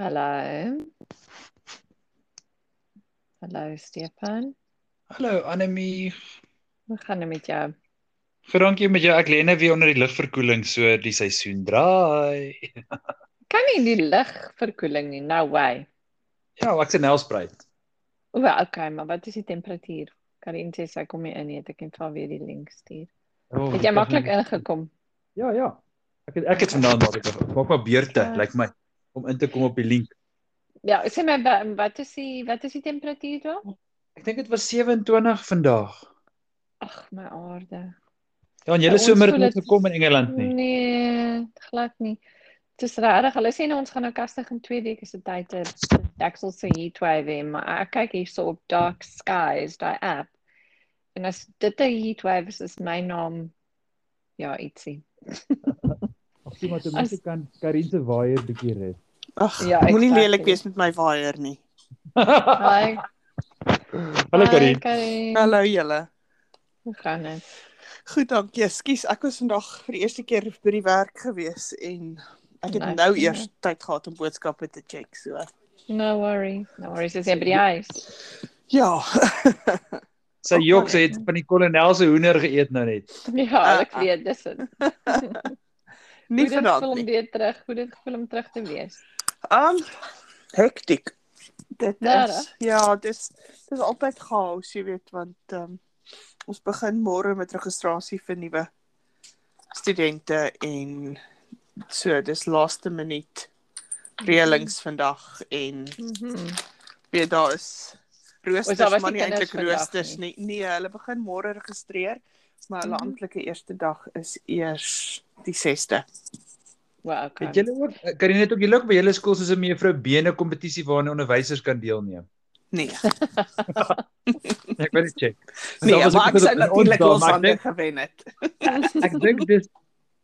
Hello. Hallo Stefan. Hallo Anemie. Hoe gaan dit met jou? Goed dankie met jou. Ek lê net weer onder die lugverkoeling, so die seisoen draai. Kan nie die lig verkoeling nie. No way. Ja, ek se nelspruit. O, wel, okay, maar wat is die temperatuur? Karin sê sy kom nie in nie. het Ek kan vir haar weer die link stuur. Oh, Het jy eh? maklik ingekom? Ja, ja. Ek het, ek het vanaand maak ek maak maar beurte, Ah. lyk like my, om in te kom op die link. Ja, sê my wa- wat is die wat is die temperatuur daar? Ek dink dit was 27 vandag. Ag my aarde. Ja, en Ja, julle ons somer voel het net dit- gekom in Engeland nie. Nee, glad nie. Dit is regtig. Hulle sê nou ons gaan nou kastig in 2 weke se tyd 'n deksel se heatwave hê, maar ek kyk hierso op Dark Skies, daai app. En as dit nou 'n heatwave is, is my naam ja, ietsie. Of jy maar ten minste As- kan Karin se waier bietjie rus. Ag, Ja, ja, moenie exactly. lelik wees met my waier nie. Hi. Hallo Karin. Hallo. Hallo julle. Hoe gaan dit? Goed, dankie. Ekskuus, ek was vandag vir die eerste keer by die werk gewees en ek het Nee, nou nee. eers tyd gehad om boodskappe te check, so. No worry. No worries. Is jy by die huis? Ja. Sy jok, sy het van die kolonel se hoender geëet nou net. Ja, ek weet dis dit. nie Hoe dit vanaand film nie. weer terug, hoe dit gevoel om terug te wees. Um hektiek. Dit Ja, is ja, dis dis altyd chaos, jy weet, want ehm um, ons begin môre met registrasie vir nuwe studente en so, dis laaste minuut reëlings vandag en Mhm. weet daar is Ons daar was roosters maar nie nie eintlik kinders vandag roosters nie. Nee, hulle begin môre registreer, maar hulle Mhm. amptelike eerste dag is eers die 6de. Wel, okay. Het julle ook Karin het ook julle ook by julle skool soos 'n mevrou Bene kompetisie waarna onderwysers kan deelneem. Nee. Ek wil dit check. Nee, Daar was ook maar ek iets wat sou in ons natuurlik daar, ons maar ek ander dink- gewen het. Ek dink dis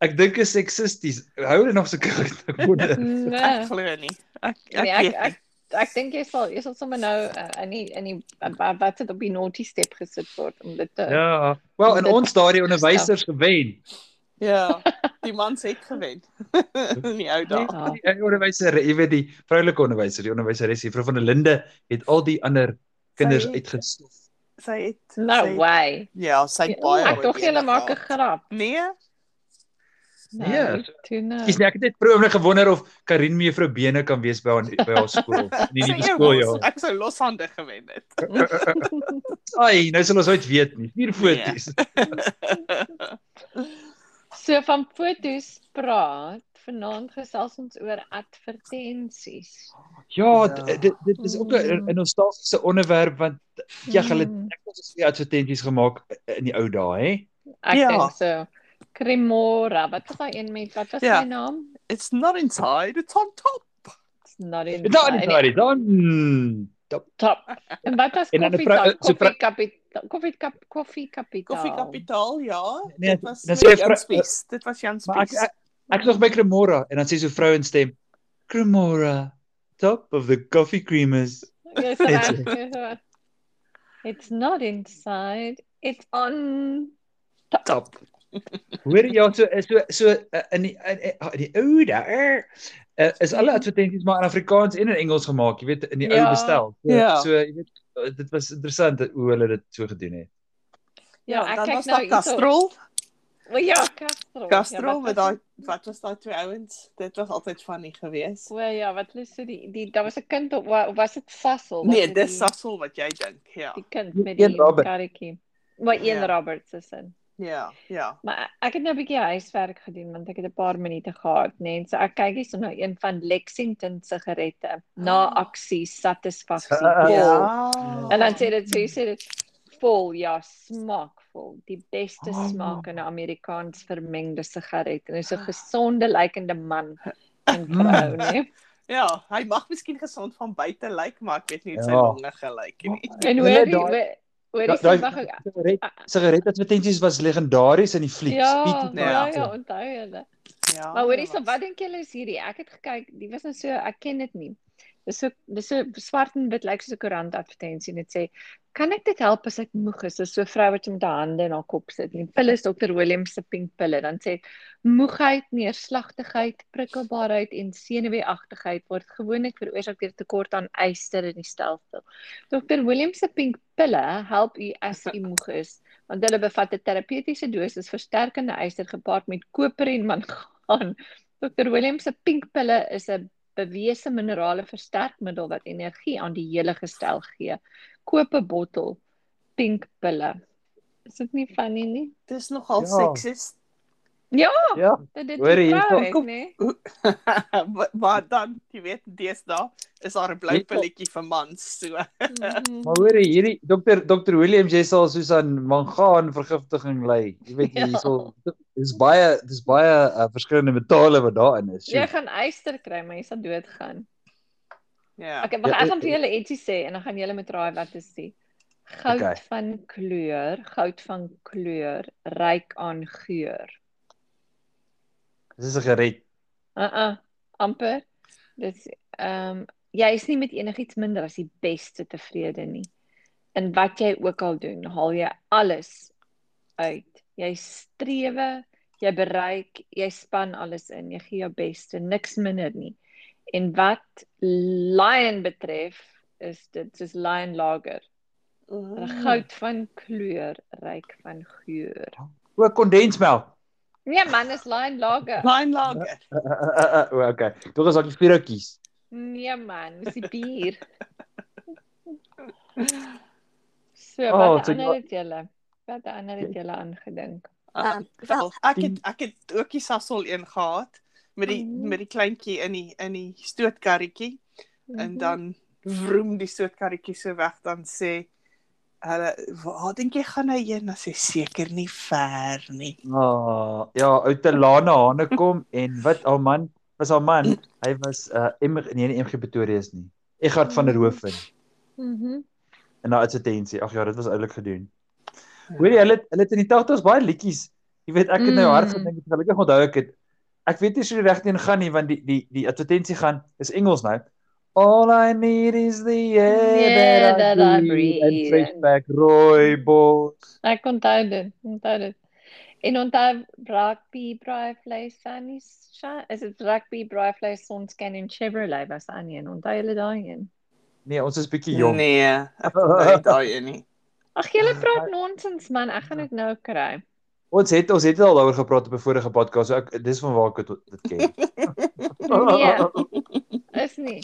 ek dink is seksisties. Hou dit nog so kyk word. Nee. Ek glo nie. Ek ek Nee, ek weet nie. ek ek dink jy sal jy sal sommer nou uh, in die in die uh, wat dit op die naughty step gesit word om dit te Ja. Wel, in Dit- ons daardie onderwysers gewen. Ja, die mans het gewen. Nie ou daar. Ja. Die eh, onderwyser, jy weet die vroulike onderwyser, die onderwyseres hier, vrou van der Linde het al die ander kinders Sy- uitgestof. Sy het No sy, way. Ja, sy het baie. Ek dog julle oordele maak 'n gehad. grap. Nee, Nou, Ja, toe nou. Ekskuus, nee, ek het net vroeg gewonder of Karin mevrou Bene kan wees by haar by haar skool. Nee, nie sy die skool ja. Ek sou loshande gewen het. Ai, nou sal ons ooit weet nie. Vier foto's. So van fotos praat, vanaand gesels ons oor advertensies. Ja, Ja. d- dit dit is ook 'n 'n nostalgiese onderwerp want ja, hulle Mm, ek het so advertensies gemaak in die ou dae, hè? ek Ja. dink so. Cremora, wat was daai een met wat was Ja. sy naam? It's not inside, it's on top. It's not in Dan dan dan dan top. En wat was En dan 'n koffie? vrou- so vrou- Koffie kapitaal. Koffie kap koffie kapitaal. Koffie Kapitaal, ja. Nee, dit was dan met sê jy Jan vrou- Spies. Dit was Jan maar ek Spies. ek- ek is nog by Cremora en dan sê so 'n vrou in stem Cremora top of the coffee creamers. Yes, It's- right, yes, right. It's not inside. It's on. Top. Hoor jy ja, so so so eh, in die in, in in die ou dae eh, is alle advertensies maar in Afrikaans en in Engels gemaak, jy weet in die Ja. ou bestel. So, Ja. so jy weet eh, dit was interessant eh, hoe hulle dit so gedoen het. Ja, ek dan kyk was nou daar hierso. Castrol. Well, ja, Castrol. Castrol ja, met daai wat was daai twee ouens? Dit was altyd funny geweest. O ja, wat hulle sê die die daar was 'n kind op wa- was dit Sassel? wat Nee, met dis die- Sassel wat jy dink. Ja. die kind Die met een die Robert. karretjie. Maar een Ja. Robert se sin. Ja, ja. Maar ek het nou 'n bietjie huiswerk gedoen want ek het 'n paar minute gehad, né? Nee, so ek kyk hier so na een van Lexington sigarette na aksie satisfaksie. Ah. Vol. Ja. En dan sê dit so, jy sê dit vol, ja, smaakvol, die beste Oh. smaak in 'n Amerikaans vermengde sigaret. En hy's 'n gesonde lykende man en Mm. vrou, nee. né? Ja, hy mag miskien gesond van buite lyk, maar ek weet nie hoe sy Ja. longe gelyk nie. En Hulle hoor jy daai- hoor jy Da- sê daai- wag. Sigaret sigaretadvertensies was legendaries in die flieks. Ah, Ja, Piet en Ja. ja, Pieter. ja, onthou julle. Ja. Maar hoorie, so wat dink julle is hierdie? Ek het gekyk, die was nou so, ek ken dit nie. Dis so dis so swart en wit lyk like soos 'n koerant advertensie net sê, "Kan ek dit help as ek moeg is?" Dis so 'n vrou wat met haar hande in haar kop sit. En die pille is Dr. Williams se pink pille. Dan sê moegheid, neerslagtigheid, prikkelbaarheid en senuweeagtigheid word gewoonlik veroorsaak deur tekort aan yster in die stelsel. Dr. Williams se pink pille help u as u moeg is, want hulle bevat 'n terapeutiese dosis versterkende yster gepaard met koper en mangaan. Dr. Williams se pink pille is 'n bewese minerale versterkmiddel wat energie aan die hele gestel gee. Koop 'n bottel pink pille. Is dit nie funny nie? Dis nogal Ja. ja. seksies. Ja, Ja. dat dit Hoor Hoor, jy, hier hierso- kom nee. Wa- maar dan, jy weet, deesdae is daar 'n blou Weet jy- pilletjie vir mans. So. Mhm. Maar hoor jy, hierdie dokter dokter Williams jy sal soos aan mangaan vergiftiging ly. Jy weet jy Ja. sal dis baie dis baie uh, verskillende metale wat daarin is. Jy gaan yster kry, maar jy sal doodgaan. Ja. Okay, maar Ja, ek gaan eh, vir julle ietsie sê en dan gaan julle met raai wat is dit? Goud Okay. van kleur, goud van kleur, ryk aan geur. Dis 'n gered. Uh-uh, amper. Dis ehm jy is nie met enigiets minder as die beste tevrede nie. En wat jy ook al doen, haal jy alles uit. Jy strewe, jy bereik, jy span alles in, jy gee jou beste, niks minder nie. En wat lion betref, is dit soos lion lager, Mm. goud van kleur, ryk van geur. Ook kondensmelk. Nee man, is lion lager. Klein lager. Uh, uh, uh, uh, o, okay. Tog as ek die vuurtjies. Nee man, dis die bier. So, Oh, wat so oh, jy- ander het julle? Wat ander het julle aangedink? Ah, wel, ek het ek het ook die Sasol een gehad met die Mhm. met die kleintjie in die in die stootkarretjie Mhm. en dan vroom die stootkarretjie so weg dan sê hulle waar dink jy gaan hy heen? Dan sê seker nie ver nie. Ah, ja, uit te Lana Hane kom en wat haar man was haar man. Hy was uh M nee nie MG Pretoria is nie. Egard van der Hoeven Mhm. in daai advertensie. Ag ja, dit was oulik gedoen. Hoor jy, hulle het- hulle het in die 80's baie liedjies. Jy weet, ek het nou Mm. hard gedink, ek gelukkig onthou ek dit. Ek weet nie hoe reg teen gaan nie want die die die advertensie gaan is Engels nou. All I need is the air Yeah, that I, that I breathe and breathe. fresh back rooibos. Ek onthou dit, onthou dit. En onthou rugby braai vleis sunny shine. Is dit rugby braai vleis sonsken en Chevrolet was aan een. Onthou julle daai een? Nee, ons is bietjie jong. Nee, ek weet daai een nie. Ag julle Ah, praat nonsens man, ek gaan dit nou kry. Ons het ons het al daaroor gepraat op 'n vorige podcast. So ek dis van waar ek dit dit ken. Nee. Is nie.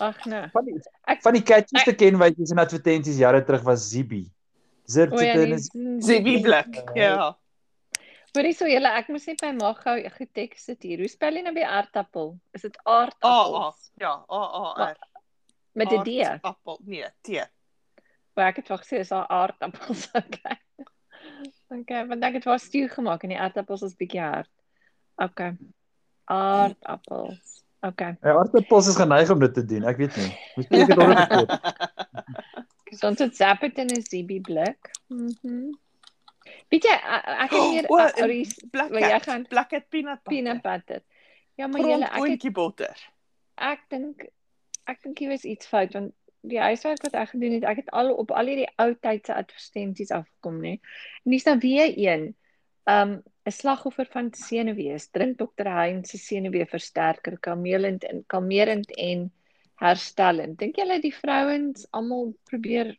Ag nee. Van die Ek- van die catchies te ken wat jy's in advertensies jare terug was Zibi. Zip O ja, dit die is Zebie blik. Nee. Ja. Hoorie so julle, ek moet net by my gou geteks sit hier. Hoe spel jy nou by aardappel? Is dit aardappel A A. Ja, A A R. met 'n D? Appel. Nee, T. Maar ek het wel gesê is daar aardappels. Okay. Okay, want ek het wel stew gemaak en die aardappels is bietjie hard. Okay. Aardappels. Okay. Ja, aardappels is geneig om dit te doen. Ek weet nie. Miskien het ek dit al gekoop. So ons het Zapperton en Zibi blik. Mhm. Weet jy e- ek het hier O, en Arie Black Maar jy Cat. gaan- Black Cat peanut butter. peanut butter. Ja, maar julle, ek het Grondboontjie botter. ek dink ek dink hier was iets fout want die huiswerk wat ek gedoen het, ek het al op al hierdie ou tyd se advertensies afgekom, nê. En hier's dan weer een. Um 'n slagoffer van senuwees. Drink Dr. Heinz se senuwee versterker, kalmerend en kalmerend en herstellend. Dink julle die vrouens almal probeer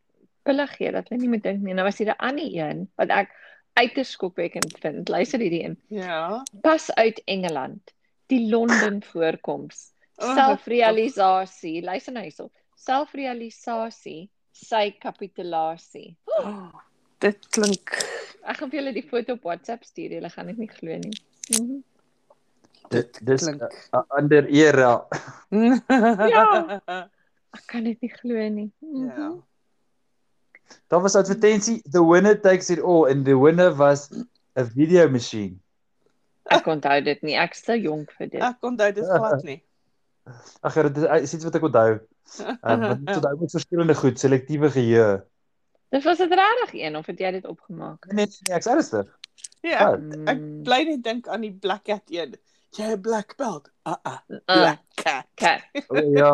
pille gee dat hulle nie moet dink nie. Nou was hier 'n ander een wat ek uiters skokwekkend vind. Luister hierdie een. Ja. Pas uit Engeland. Die Londen voorkoms. Oh, Selfrealisasie, luister nou hierop. Selfrealisasie, sy kapitulasie. Dit klink Ek gaan vir julle die foto op WhatsApp stuur, julle gaan dit nie glo nie. Mm Mhm. -hmm. Dit dis klink. 'n ander era. Ja. Ek kan dit nie glo nie. Mhm. Mm Ja. -hmm. Daar was advertensie The winner takes it all and the winner was 'n video masjien. ja. Ek onthou dit nie. Ek's te jonk vir dit. Ek onthou dit Ja. glad nie. Ag ja, dit is- is iets wat ek onthou. Ehm um, want onthou met verskillende goed, selektiewe geheue. Dit was 'n regtig een of het jy dit Nee, opgemaak? Mm, Nee nee, nee ek's ernstig. Ja, Oh, ek bly net dink aan die Black Cat een. Jy 'n black belt. Ah ah. Eh, Uh, Black cat. okay. O, ja.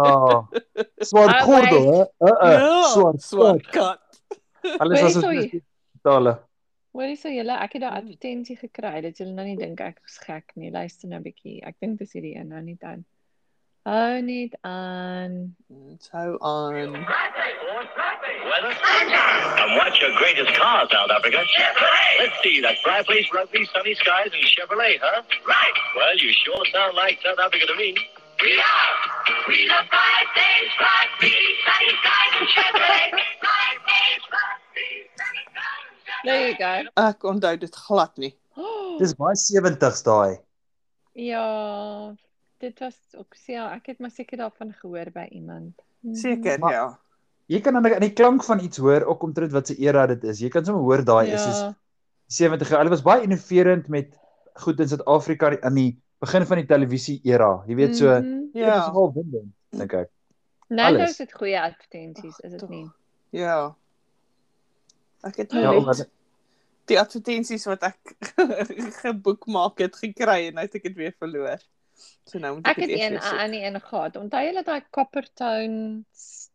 Swart Alright. Ja. gordel, hè? Uh uh, swart. Swart. swart kat. Alles was Sorry. ons tale. Hoorie so julle, ek Ja. het daai advertensie gekry dat julle nou nie dink ek is gek nie. Luister nou 'n bietjie. Ek dink dis hierdie een nou net aan. Hou net aan. So on. And what's your greatest car, South Africa? Chevrolet. Let's see, that Fry Place Rugby, Sunny Skies, and Chevrolet, huh? Right. Well, you sure sound like South Africa to me. We are. We the Five Days Rugby, Sunny Skies, and Chevrolet. Five Days Rugby, Sunny Skies, and Chevrolet. There you go. Ek onthou dit glad nie. Oh, Dis baie 70s daai. ja, dit was ook seker. Ek het maar seker daarvan gehoor by iemand. Mhm. Seker, Maar- ja. Jy kan aan die, aan die klank van iets hoor ook omtrent wat se era dit is. Jy kan sommer hoor daai is is Ja. 70 jaar. Hulle was baie innoverend met goed in Suid-Afrika aan die begin van die televisie era. Jy weet so mm Mhm. -hmm. dit is Ja. al windend dink ek. Nou nou alles. is dit goeie advertensies, is dit Ag, nie? Ja. Ek het nou Ja, net omdat die advertensies wat ek geboek maak het gekry en nou het ek dit weer verloor. So nou moet Ek ek het dit een eers aan weer soek. die een gehad. Onthou julle daai Coppertone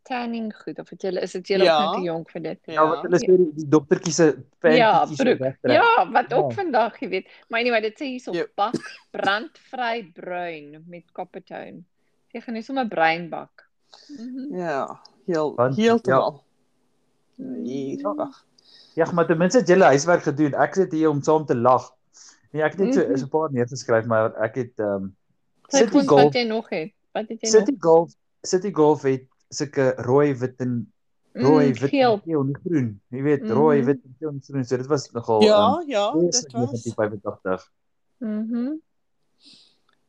tanning goed of het julle is dit julle Ja. ook net te jonk vir dit? ja, wat hulle sê die, die doktertjie se Ja, pantjies broek. wegtrek. Ja, wat ook Ja. vandag, jy weet. Maar anyway, dit sê hierso Yep. bak brandvry bruin met Coppertone. Jy gaan nie sommer bruin bak. Mhm. Ja, heel Want- heeltemal. Nee, wag. Ja, maar ten minste het julle huiswerk gedoen. Ek sit hier om saam te lag. Nee, ek het net so Mhm. is 'n paar neergeskryf, maar ek het ehm um, Sê City ons wat Golf jy nog het. Wat het jy nog? City Golf City Golf het sulke rooi wit en rooi Mm, wit en geel. geel en groen. Jy weet, rooi Mhm. wit en geel en groen. So dit was nogal Ja, ja, ehm, dit was. 1985. Mhm.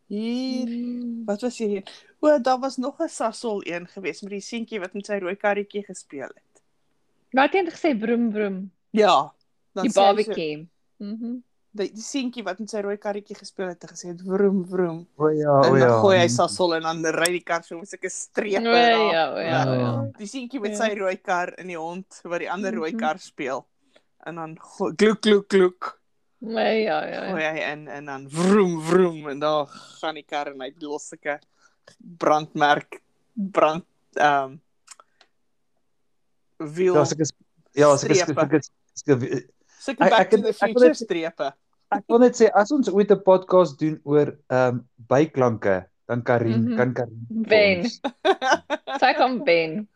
Hier, Mm. wat was hier? O, daar was nog 'n Sasol een geweest met die seentjie wat met sy rooi karretjie gespeel het. Wat het jy gesê broem broem? Ja, dan Die sê hy so- barbecue. Mhm. die, die seentjie wat met sy rooi karretjie gespeel het, het gesê het vroom vroom. O ja, Oh, o en dan ja. ja. gooi hy sasol en dan ry die kar so met sulke Ja, strepe. raak. ja, ja, ja. Ja. Die seentjie met Ja. sy rooi kar in die hond wat die ander rooi Mhm. kar speel. En dan go- gloek gloek gloek Nee, ja, ja. gooi hy in en dan vroom vroom en daar gaan die kar en hy los sulke brandmerk brand ehm um, wiel Daar's 'n ja, daar's 'n strepe. sulke sulke sulke Ek- back ek to het- the ek wil future net- strepe. Ek wil net sê as ons ooit 'n podcast doen oor ehm um, byklanke, dan Karin, mm Mhm. -hmm. kan Karin vir Ben. ons. Sy kom ben.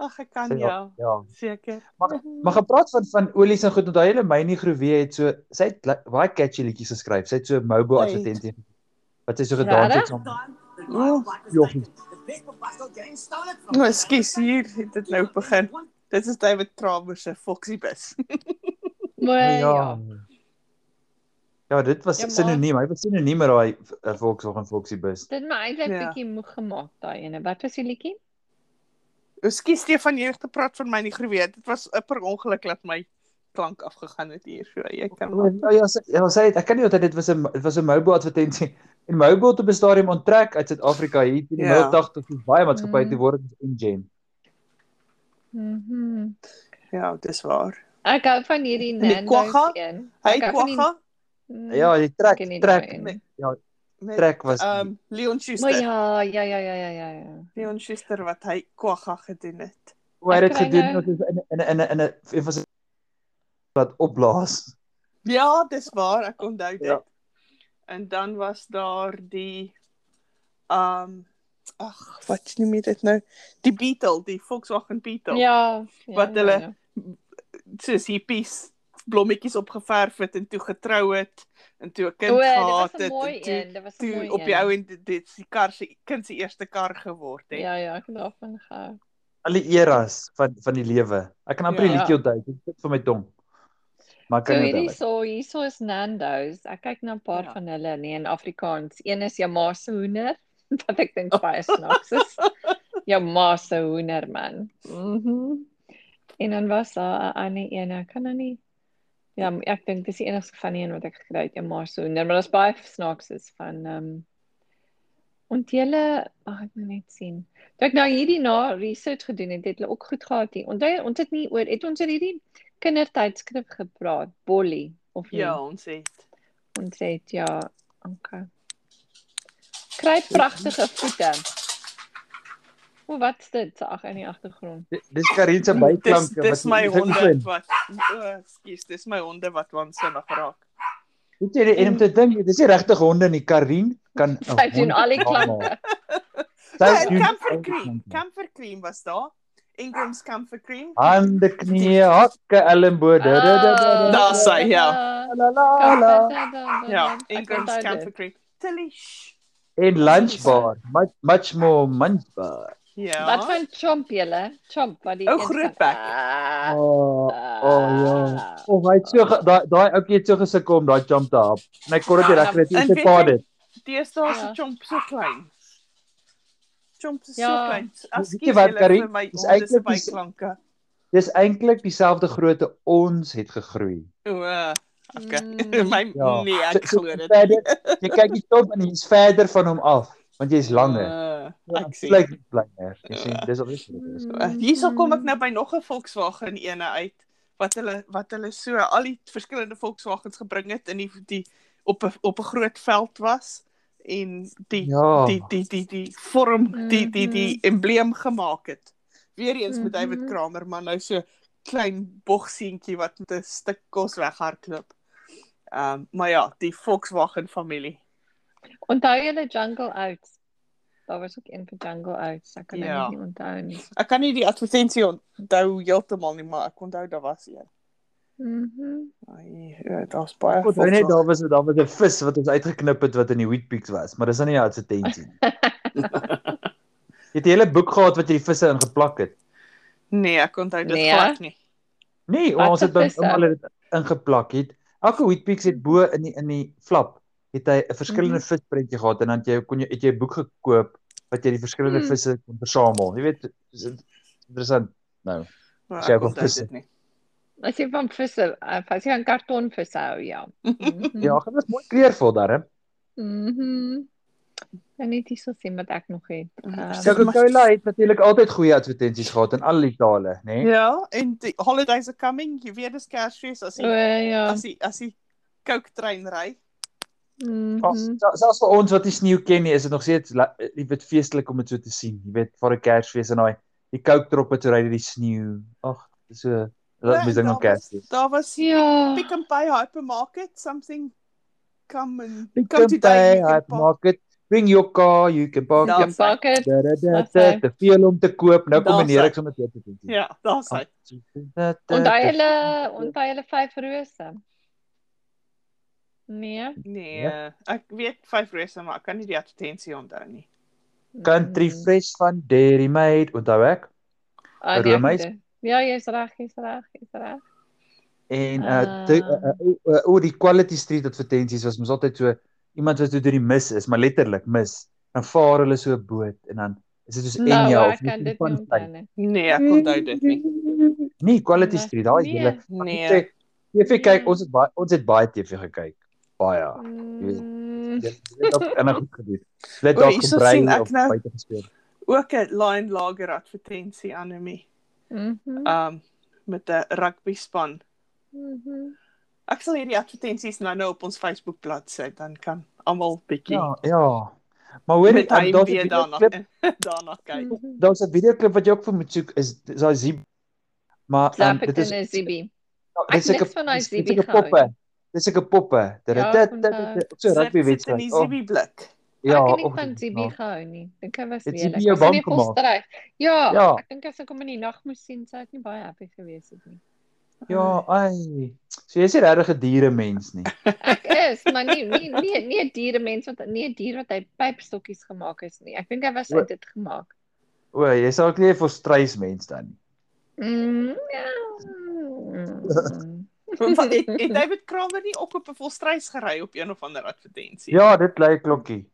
Ag ek kan ja, Ja. seker. Maar gepraat van van olies en goed, onthou julle Mynie Groewe het so sy het li- baie catchy liedjies geskryf. Sy het so mobile Right. advertensie wat sy so gedans het saam. Oh, Jog. Nou, skus hier het dit nou begin. Dit is David Traber se Foxy bus. Maar ja. Ja, dit was Ja, maar- sinoniem. Hy was sinoniem met daai eh, Volkswagen Foxy bus. Dit het my eintlik Ja. bietjie moeg gemaak daai ene. Wat was die liedjie? O, skus Stefan, jy het gepraat van my nie geweet. Dit was 'n per ongeluk dat my klank afgegaan het hier. So jy kan maar Ja, ja, sy, ja, sy het, ek kan nie onthou dit was 'n dit was 'n mobile advertensie. En mobile te bestadium onttrek uit Suid-Afrika hier in die Ja. middel 80s baie maatskappye Mm. te word as Engen. Mhm. Ja, dis waar. Ek hou van hierdie die kwagga? Nando's een. Hy Ek hou van die- kwagga Mm, Ja, die trek ken nie daai trek een. Nee. met trek was ehm um, Leon Maar Schuster. ja, ja, ja, ja, ja, ja, ja. Leon Schuster wat hy kwagga gedoen het. hoe hy ek dit kry gedoen nou- het is in in in in 'n een van sy wat opblaas. Ja, dis waar, ek onthou dit. Ja. Ja. En dan was daar die ehm um, ag, wat noem jy dit nou? Die Beetle, die Volkswagen Beetle. Ja. ja, Wat ja, hulle- ja. soos hippies blommetjies opgeverf het en toe getrou het en toe 'n kind O, ja, dit was gehad 'n het mooi en toe, een. Dit was 'n mooi toe een. op die ou en dit dit se kar se kind se eerste kar geword het. Ja, ja, ek het daarvan gehou. Al die eras van van die lewe. Ek kan amper die Ja. liedjie onthou. Dit sit vir my tong. Maar ek So kan dit hierdie onthou. so, hierso is Nando's. Ek kyk na 'n paar Ja. van hulle nee in Afrikaans. Een is jou ma se hoender wat ek dink baie snaaks is. Jou ma se hoender man. Mhm. En dan was daar 'n ander een, ek kan nou nie Ja, maar ek dink dis die enigste van die een wat ek gekry het, jou ma se hoender, maar daar's baie snaaks is van ehm um, Ont julle, ag ek moet net sien. Toe ek nou hierdie na research gedoen het, het hulle ook goed gehad hier. Onthou, ons het nie oor het ons oor hierdie kindertydskrif Ja. gepraat, Bolly of nie? Ja, ons het. Ons het ja, okay. Kry pragtige voete. O, wat's dit? Ag, in die agtergrond. Di- Dis Karin se Dis byklampie dis my honde Weet wat o, ekskuus, dis my honde wat waansinnig raak. jy en om te dink, dis nie regtig honde nie. Karin kan 'n Sy doen hond al die klaar klanke. maak. Ja, Sy en doen Comfort al die cream, klanke. comfort cream was daar. Ingram's comfort cream. Ah, Hande, knieë, hakke, elmboë. da, da, da, da, da. Daar Ah, sy, ja. La, la, la. Ja, Ingram's comfort cream. Tilly. shh. En lunchbar, much much more munchbar. Ja. Wat van chomp julle? Chomp wat die O, een- groot bek. Ah, Oh, oh ja. ah. Of hy het so ge- daai daai ouetjie het so gesukkel om daai jump te hap. En hy kon Ah, dit nie reg kry En nie. Sy weet pa jy- dit. Deesdae is Ja. 'n chomp so klein. Chomp is so Ja. klein. Weet jy wat, Karin? Dis Dis eintlik eintlik die- baie klanke. Dis eintlik dieselfde grootte ons het gegroei. O, eh, okay. Mm. My Ja. nee, So- ek so glo dit. verder, Jy kyk die top en jy's verder van hom af want jy's Ah. langer. Uh, Ja, ek sien. Ja. Blyk nie kleiner. Jy sien, dis op dit. Uh, Mm. Hierso kom ek nou by nog 'n Volkswagen ene uit wat hulle wat hulle so al die verskillende Volkswagens gebring het in die die op 'n op 'n groot veld was en die Ja. die die die die vorm die die die embleem gemaak het. Weereens met David Mhm. Kramer maar nou so klein bogseentjie wat met 'n stuk kos weghardloop. Ehm um, maar ja, die Volkswagen familie. Onthou julle Jungle Oats? Daar was ook een vir Jungle Oats. Ek kan Ja. ja. nie onthou nie. Ek kan nie die advertensie onthou heeltemal nie, maar ek onthou daar was een. Mhm. Ai, ja, daar's baie. Ek onthou Volkswagen. net daar was daar was 'n vis wat ons uitgeknip het wat in die wheat peaks was, maar dis nou nie 'n advertensie nie. Jy het 'n hele boek gehad wat jy die visse ingeplak het. Nee, ek onthou dit Nee, nee, glad nie. Nee, Wat ons het se by visse? almal dit ingeplak het. Elke wheat peaks het bo in die in die flap het hy 'n verskillende Mhm. visprentjie gehad en dan het jy kon jy het jy 'n boek gekoop wat jy die verskillende Mm. Mhm. visse kon versamel. Jy weet, dis in- interessant. Nou, Maar Sy ek ook al onthou vis. dit nie. As jy van visse, eh, as jy van kartonvis hou, ja. Mhm. ja, dit was mooi kleurvol daar, hè. Mhm. En net hierso sien wat ek nog het. Mhm. Ehm, So- Ja, Coca-Cola het natuurlik altyd goeie advertensies gehad in al die tale, né? Nee? Ja, en die holidays are coming. Jy weet dis Kersfees as O jy ja. as jy as jy Coke trein ry. Ja, Mhm. se- selfs vir ons wat nie sneeu ken nie, is dit nog steeds la- jy weet feestelik om dit so te sien. Jy weet, vir 'n Kersfees en daai die Coke drop wat so ry deur die sneeu. Ag, dis so Ja, dat en mens ding daar aan Kersfees. Daar was Ja. Pick n Pay hypermarket something come and Pick come and pay today you can at pop. market, bring your car, you can park. Ja. Ja. Jou pakket. Da, da, da, Daar's da, hy. te veel om te koop. Nou kom Daar's meneer hy. ek sommer dit te doen. Ja, daar's Ah, hy. Onthou julle, onthou julle vyf rose. Nee. Nee, ja. ek weet vyf rose maar ek kan nie die advertensie onthou nie. Country Mhm. Mm. Fresh van Dairy Maid, onthou ek. Ah, nee, ek Romeis. het dit. Ja, jy's reg, jy's reg, jy's reg. En Ah. uh te- uh, uh, o- uh, o die Quality Street advertensies was mos altyd so iemand wat so deur die mis is, maar letterlik mis. Dan vaar hulle so 'n boot en dan is dit soos Nou, Enya ek kan dit nie van onthou nie. Nee, ek onthou dit nie. Nee, Quality Nee. Street, daai Nee. hele Nee. TV kyk, Nee. ons het baie ons het baie TV gekyk. Baie. Mm. Dit het ook ander goed gedoen. Hulle het O, dalk hierso gebrei sien ek of nou- buite gespeel. Ook 'n Lion Lager advertensie anemie. Mhm. Um met 'n rugby span. Mhm. Ek sal hierdie advertensies nou nou op ons Facebook bladsy dan kan almal bietjie Ja, ja. Maar hoor met hy ek daar's 'n weer daarna videoklip, daarna kyk. Mhm. daar's 'n videoklip wat jy ook vir moet soek is is daai Zib maar um, Slap dit dit is in 'n zibi. Ja, Ek dis sulke niks van daai dis- dis Zibi sulke gehou poppe. Dis sulke poppe. Dit Ja, dit ek dit onthou. dit- so rugby Sit in die wedstryd. Oh, Zibi blik. ja, ek het nie of- van Zibi ja. gehou nie. Dink hy was Het lelik. Zibi jou Was hy bang nie vol gemaak? stryd. Ja, Ja. ek dink as ek hom in die nag moes sien, sou ek nie baie happy gewees het nie. Ja, ai. So jy's nie regtig 'n diere mens nie. Ek is, maar nie nie nie nie 'n diere mens wat nie 'n dier wat hy pypstokkies gemaak is nie. Ek dink hy was Wat? uit dit gemaak. O, jy's ook nie 'n volstruis mens dan nie. Mm, ja. Want het, het David Kramer nie ook op 'n volstrys gery op een of ander advertensie Ja, dit lyk klokkie.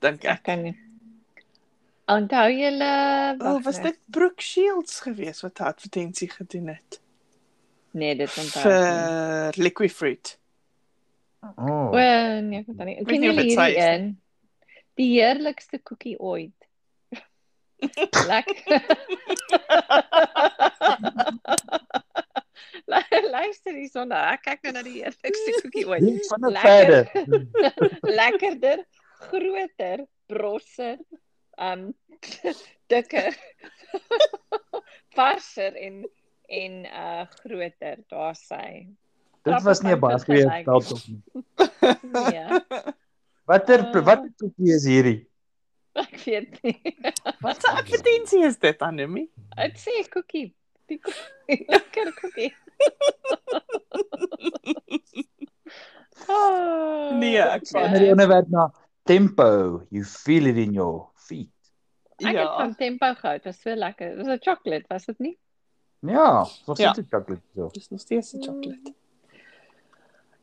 dink Ek ek. kan nie. Onthou julle O, oh, wag nee. was net. dit Brooke Shields geweest wat 'n advertensie gedoen het Nee, dit onthou. ek nie. vir Liquifruit? O. Oh. O, nee, ek onthou nie. Weet Ken nie of julle dit sy hierdie is een? Die heerlikste koekie ooit. Lekker. Luister nou hierson, ek kyk nou na die heerlikste koekie ooit. Hier van 'n Lekker. verder. Lekkerder groter, brosser, um dikker, varser en en uh groter. Daar sy. Dit was nie 'n baie goeie veldtog nie. Nee, Watter Ah. watter koekie is hierdie? ek weet nie. Wat 'n advertensie is dit, Anemie? I'd say cookie. Die cookie. Lekker cookie. oh, Nee, ek Van hierdie ja. onderwerp na tempo. You feel it in your feet. Ek het Ja. van tempo gehou. Dit was so lekker. Dit was 'n chocolate, was dit nie? Ja, is nog Ja. steeds 'n chocolate so. Dis nog steeds 'n chocolate.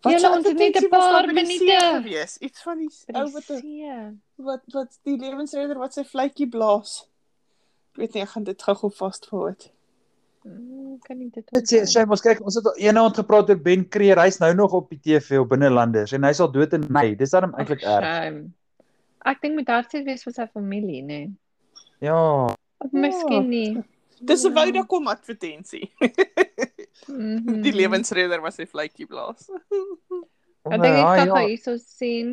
Julle, se ons het net 'n advertensie was daar paar by die see minute. gewees. Iets van die By die ou Oh, wat 'n see. ja. wat wat die lewensredder wat sy vletjie blaas. Ek weet nie, ek gaan dit gou-gou vasvoer. Mm, Kan nie dit Dit sê onthou. Shane, ons kyk, ons het al eendag gepraat oor Ben Creer. Hy's nou nog op die TV op binnelanders en hy's al dood in Mei. Dis dan Ag, eintlik eh, erg. shame. Ek dink moet hartseer wees vir sy familie, nê. Nee. Ja. Of miskien nie. Dis 'n Ja. wou daar kom advertensie. Mhm. Die lewensredder was sy vletjie blaas. Ek dink ek Ja, gaan gou ja. hierso sien.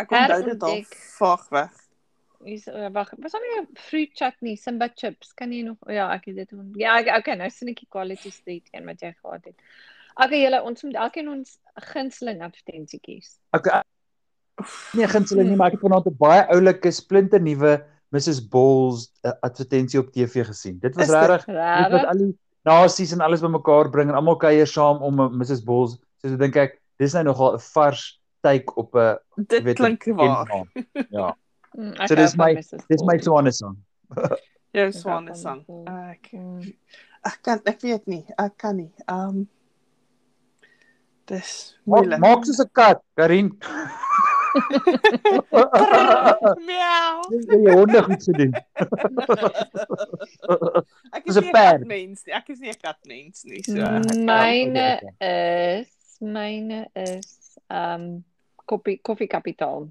Ek onthou dit al Herontdek. vaag weg. Hier's uh, wag, was daar nie 'n fruit chutney, Simba chips? Kan jy nog oh, ja, ek het dit on- Ja, ek, okay, nou sien ek die quality street een wat jy gehad het. Okay, julle, ons moet elkeen ons gunsteling advertensie kies. Okay. Nee, gunsteling nie, maar ek het vanaand 'n baie oulike splinternuwe Mrs Balls eh, advertensie op TV gesien. Dit was Is dit regtig dit wat Regtig? al die nasies en alles bymekaar bring en almal kuier saam om 'n Mrs Balls. So ek dink ek dis nou nogal 'n vars take op 'n Dit weet, klink waar. kenmerk. Ja. Mm, ek So hou dis van my- Mrs. Dis my Ball. swane song. Jou hou swane van sang. die Ek Mm. ek kan ek weet nie, ek kan nie. Um Dis Maak, moeilik. maak soos 'n kat, Karin. Miau. Jy het honde goed gedoen. Ek Dis is een nie 'n perd. katmens nie. Ek is nie 'n katmens nie. Ja, So Mhm. ek Myne is myne is um koffie koffie kapitaal.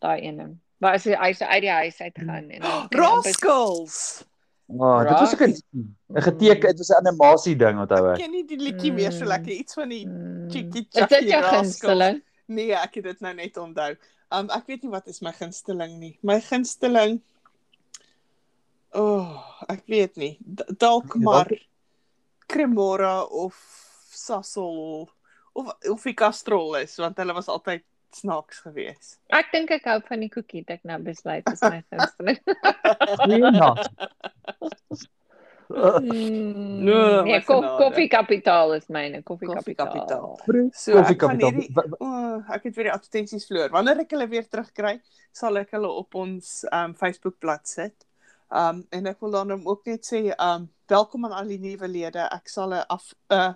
Daai een. Maar as hy hy's uit die huis uit gaan en dan- en dan- Rascals. Oh, dit was ook 'n 'n geteken, dit was 'n animasie ding onthou Ek ek. ken nie die liedjie meer so Mm. lekker iets van die Mm. Cheeky Is dit Chucky jou Rascals? gunsteling? Nee, ek het dit nou net onthou. Um ek weet nie wat is my gunsteling nie. My gunsteling O, oh, ek weet nie. D- Dalk Nee, maar dalk- Cremora of Sasol of of die Castrol is want hulle was altyd snaaks geweest. Ek dink ek hou van die koekie wat ek nou besluit is my gunsteling. Goeie nag. Mm, No, nee, wat ko genade. koffie kapitaal is myne, koffie Koffie kapitaal. Kapitaal. So Koffie ek gaan kapitaal. hierdie o, oh, ek het weer die advertensies verloor. Wanneer ek hulle weer terugkry, sal ek hulle op ons um Facebookblad sit. Um en ek wil dan hom ook net sê um welkom aan al die nuwe lede. Ek sal 'n af 'n uh,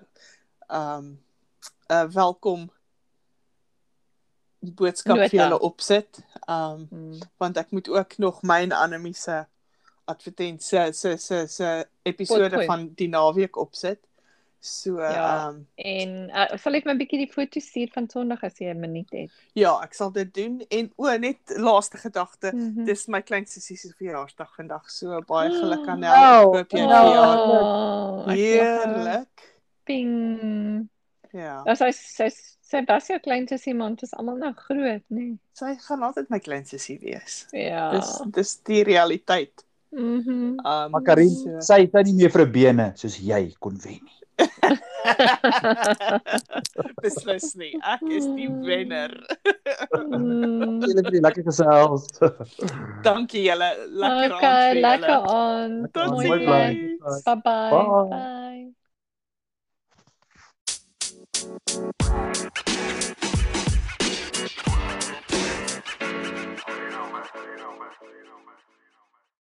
um 'n uh, welkom boodskap Nota. vir julle opsit. Um Mm. want ek moet ook nog myn Anemie se advertensie se se se episode Potgooi. van die naweek opsit. So ehm Ja. ja. um, En uh, sal ek my 'n bietjie die foto stuur van Sondag as jy 'n minuut het. Ja, ek sal dit doen en o, net laaste gedagte. Mhm. Dis my klein sussie se verjaarsdag vandag. So baie geluk Mm. aan haar. Wow. Ek hoop jy Nou. verjaar Oh, ek lag. heerlik. Ping. Ja. As hy sy sy was jou klein sussie maar ons is almal nou groot, nê. Sy gaan altyd my klein sussie wees. Nee. Ja. Dis dis die realiteit. Mhm. Um Maar Karin, sy sy nie meer vir bene soos jy kon wen nie. beslis nie. Ek is die wenner. Mm. Julle het lekker gesels. Dankie julle. Lekker aand Mm. Okay, vir julle. lekker aan. Tot Oh Mooi ziens. bly. Bye-bye. Bye. Bye.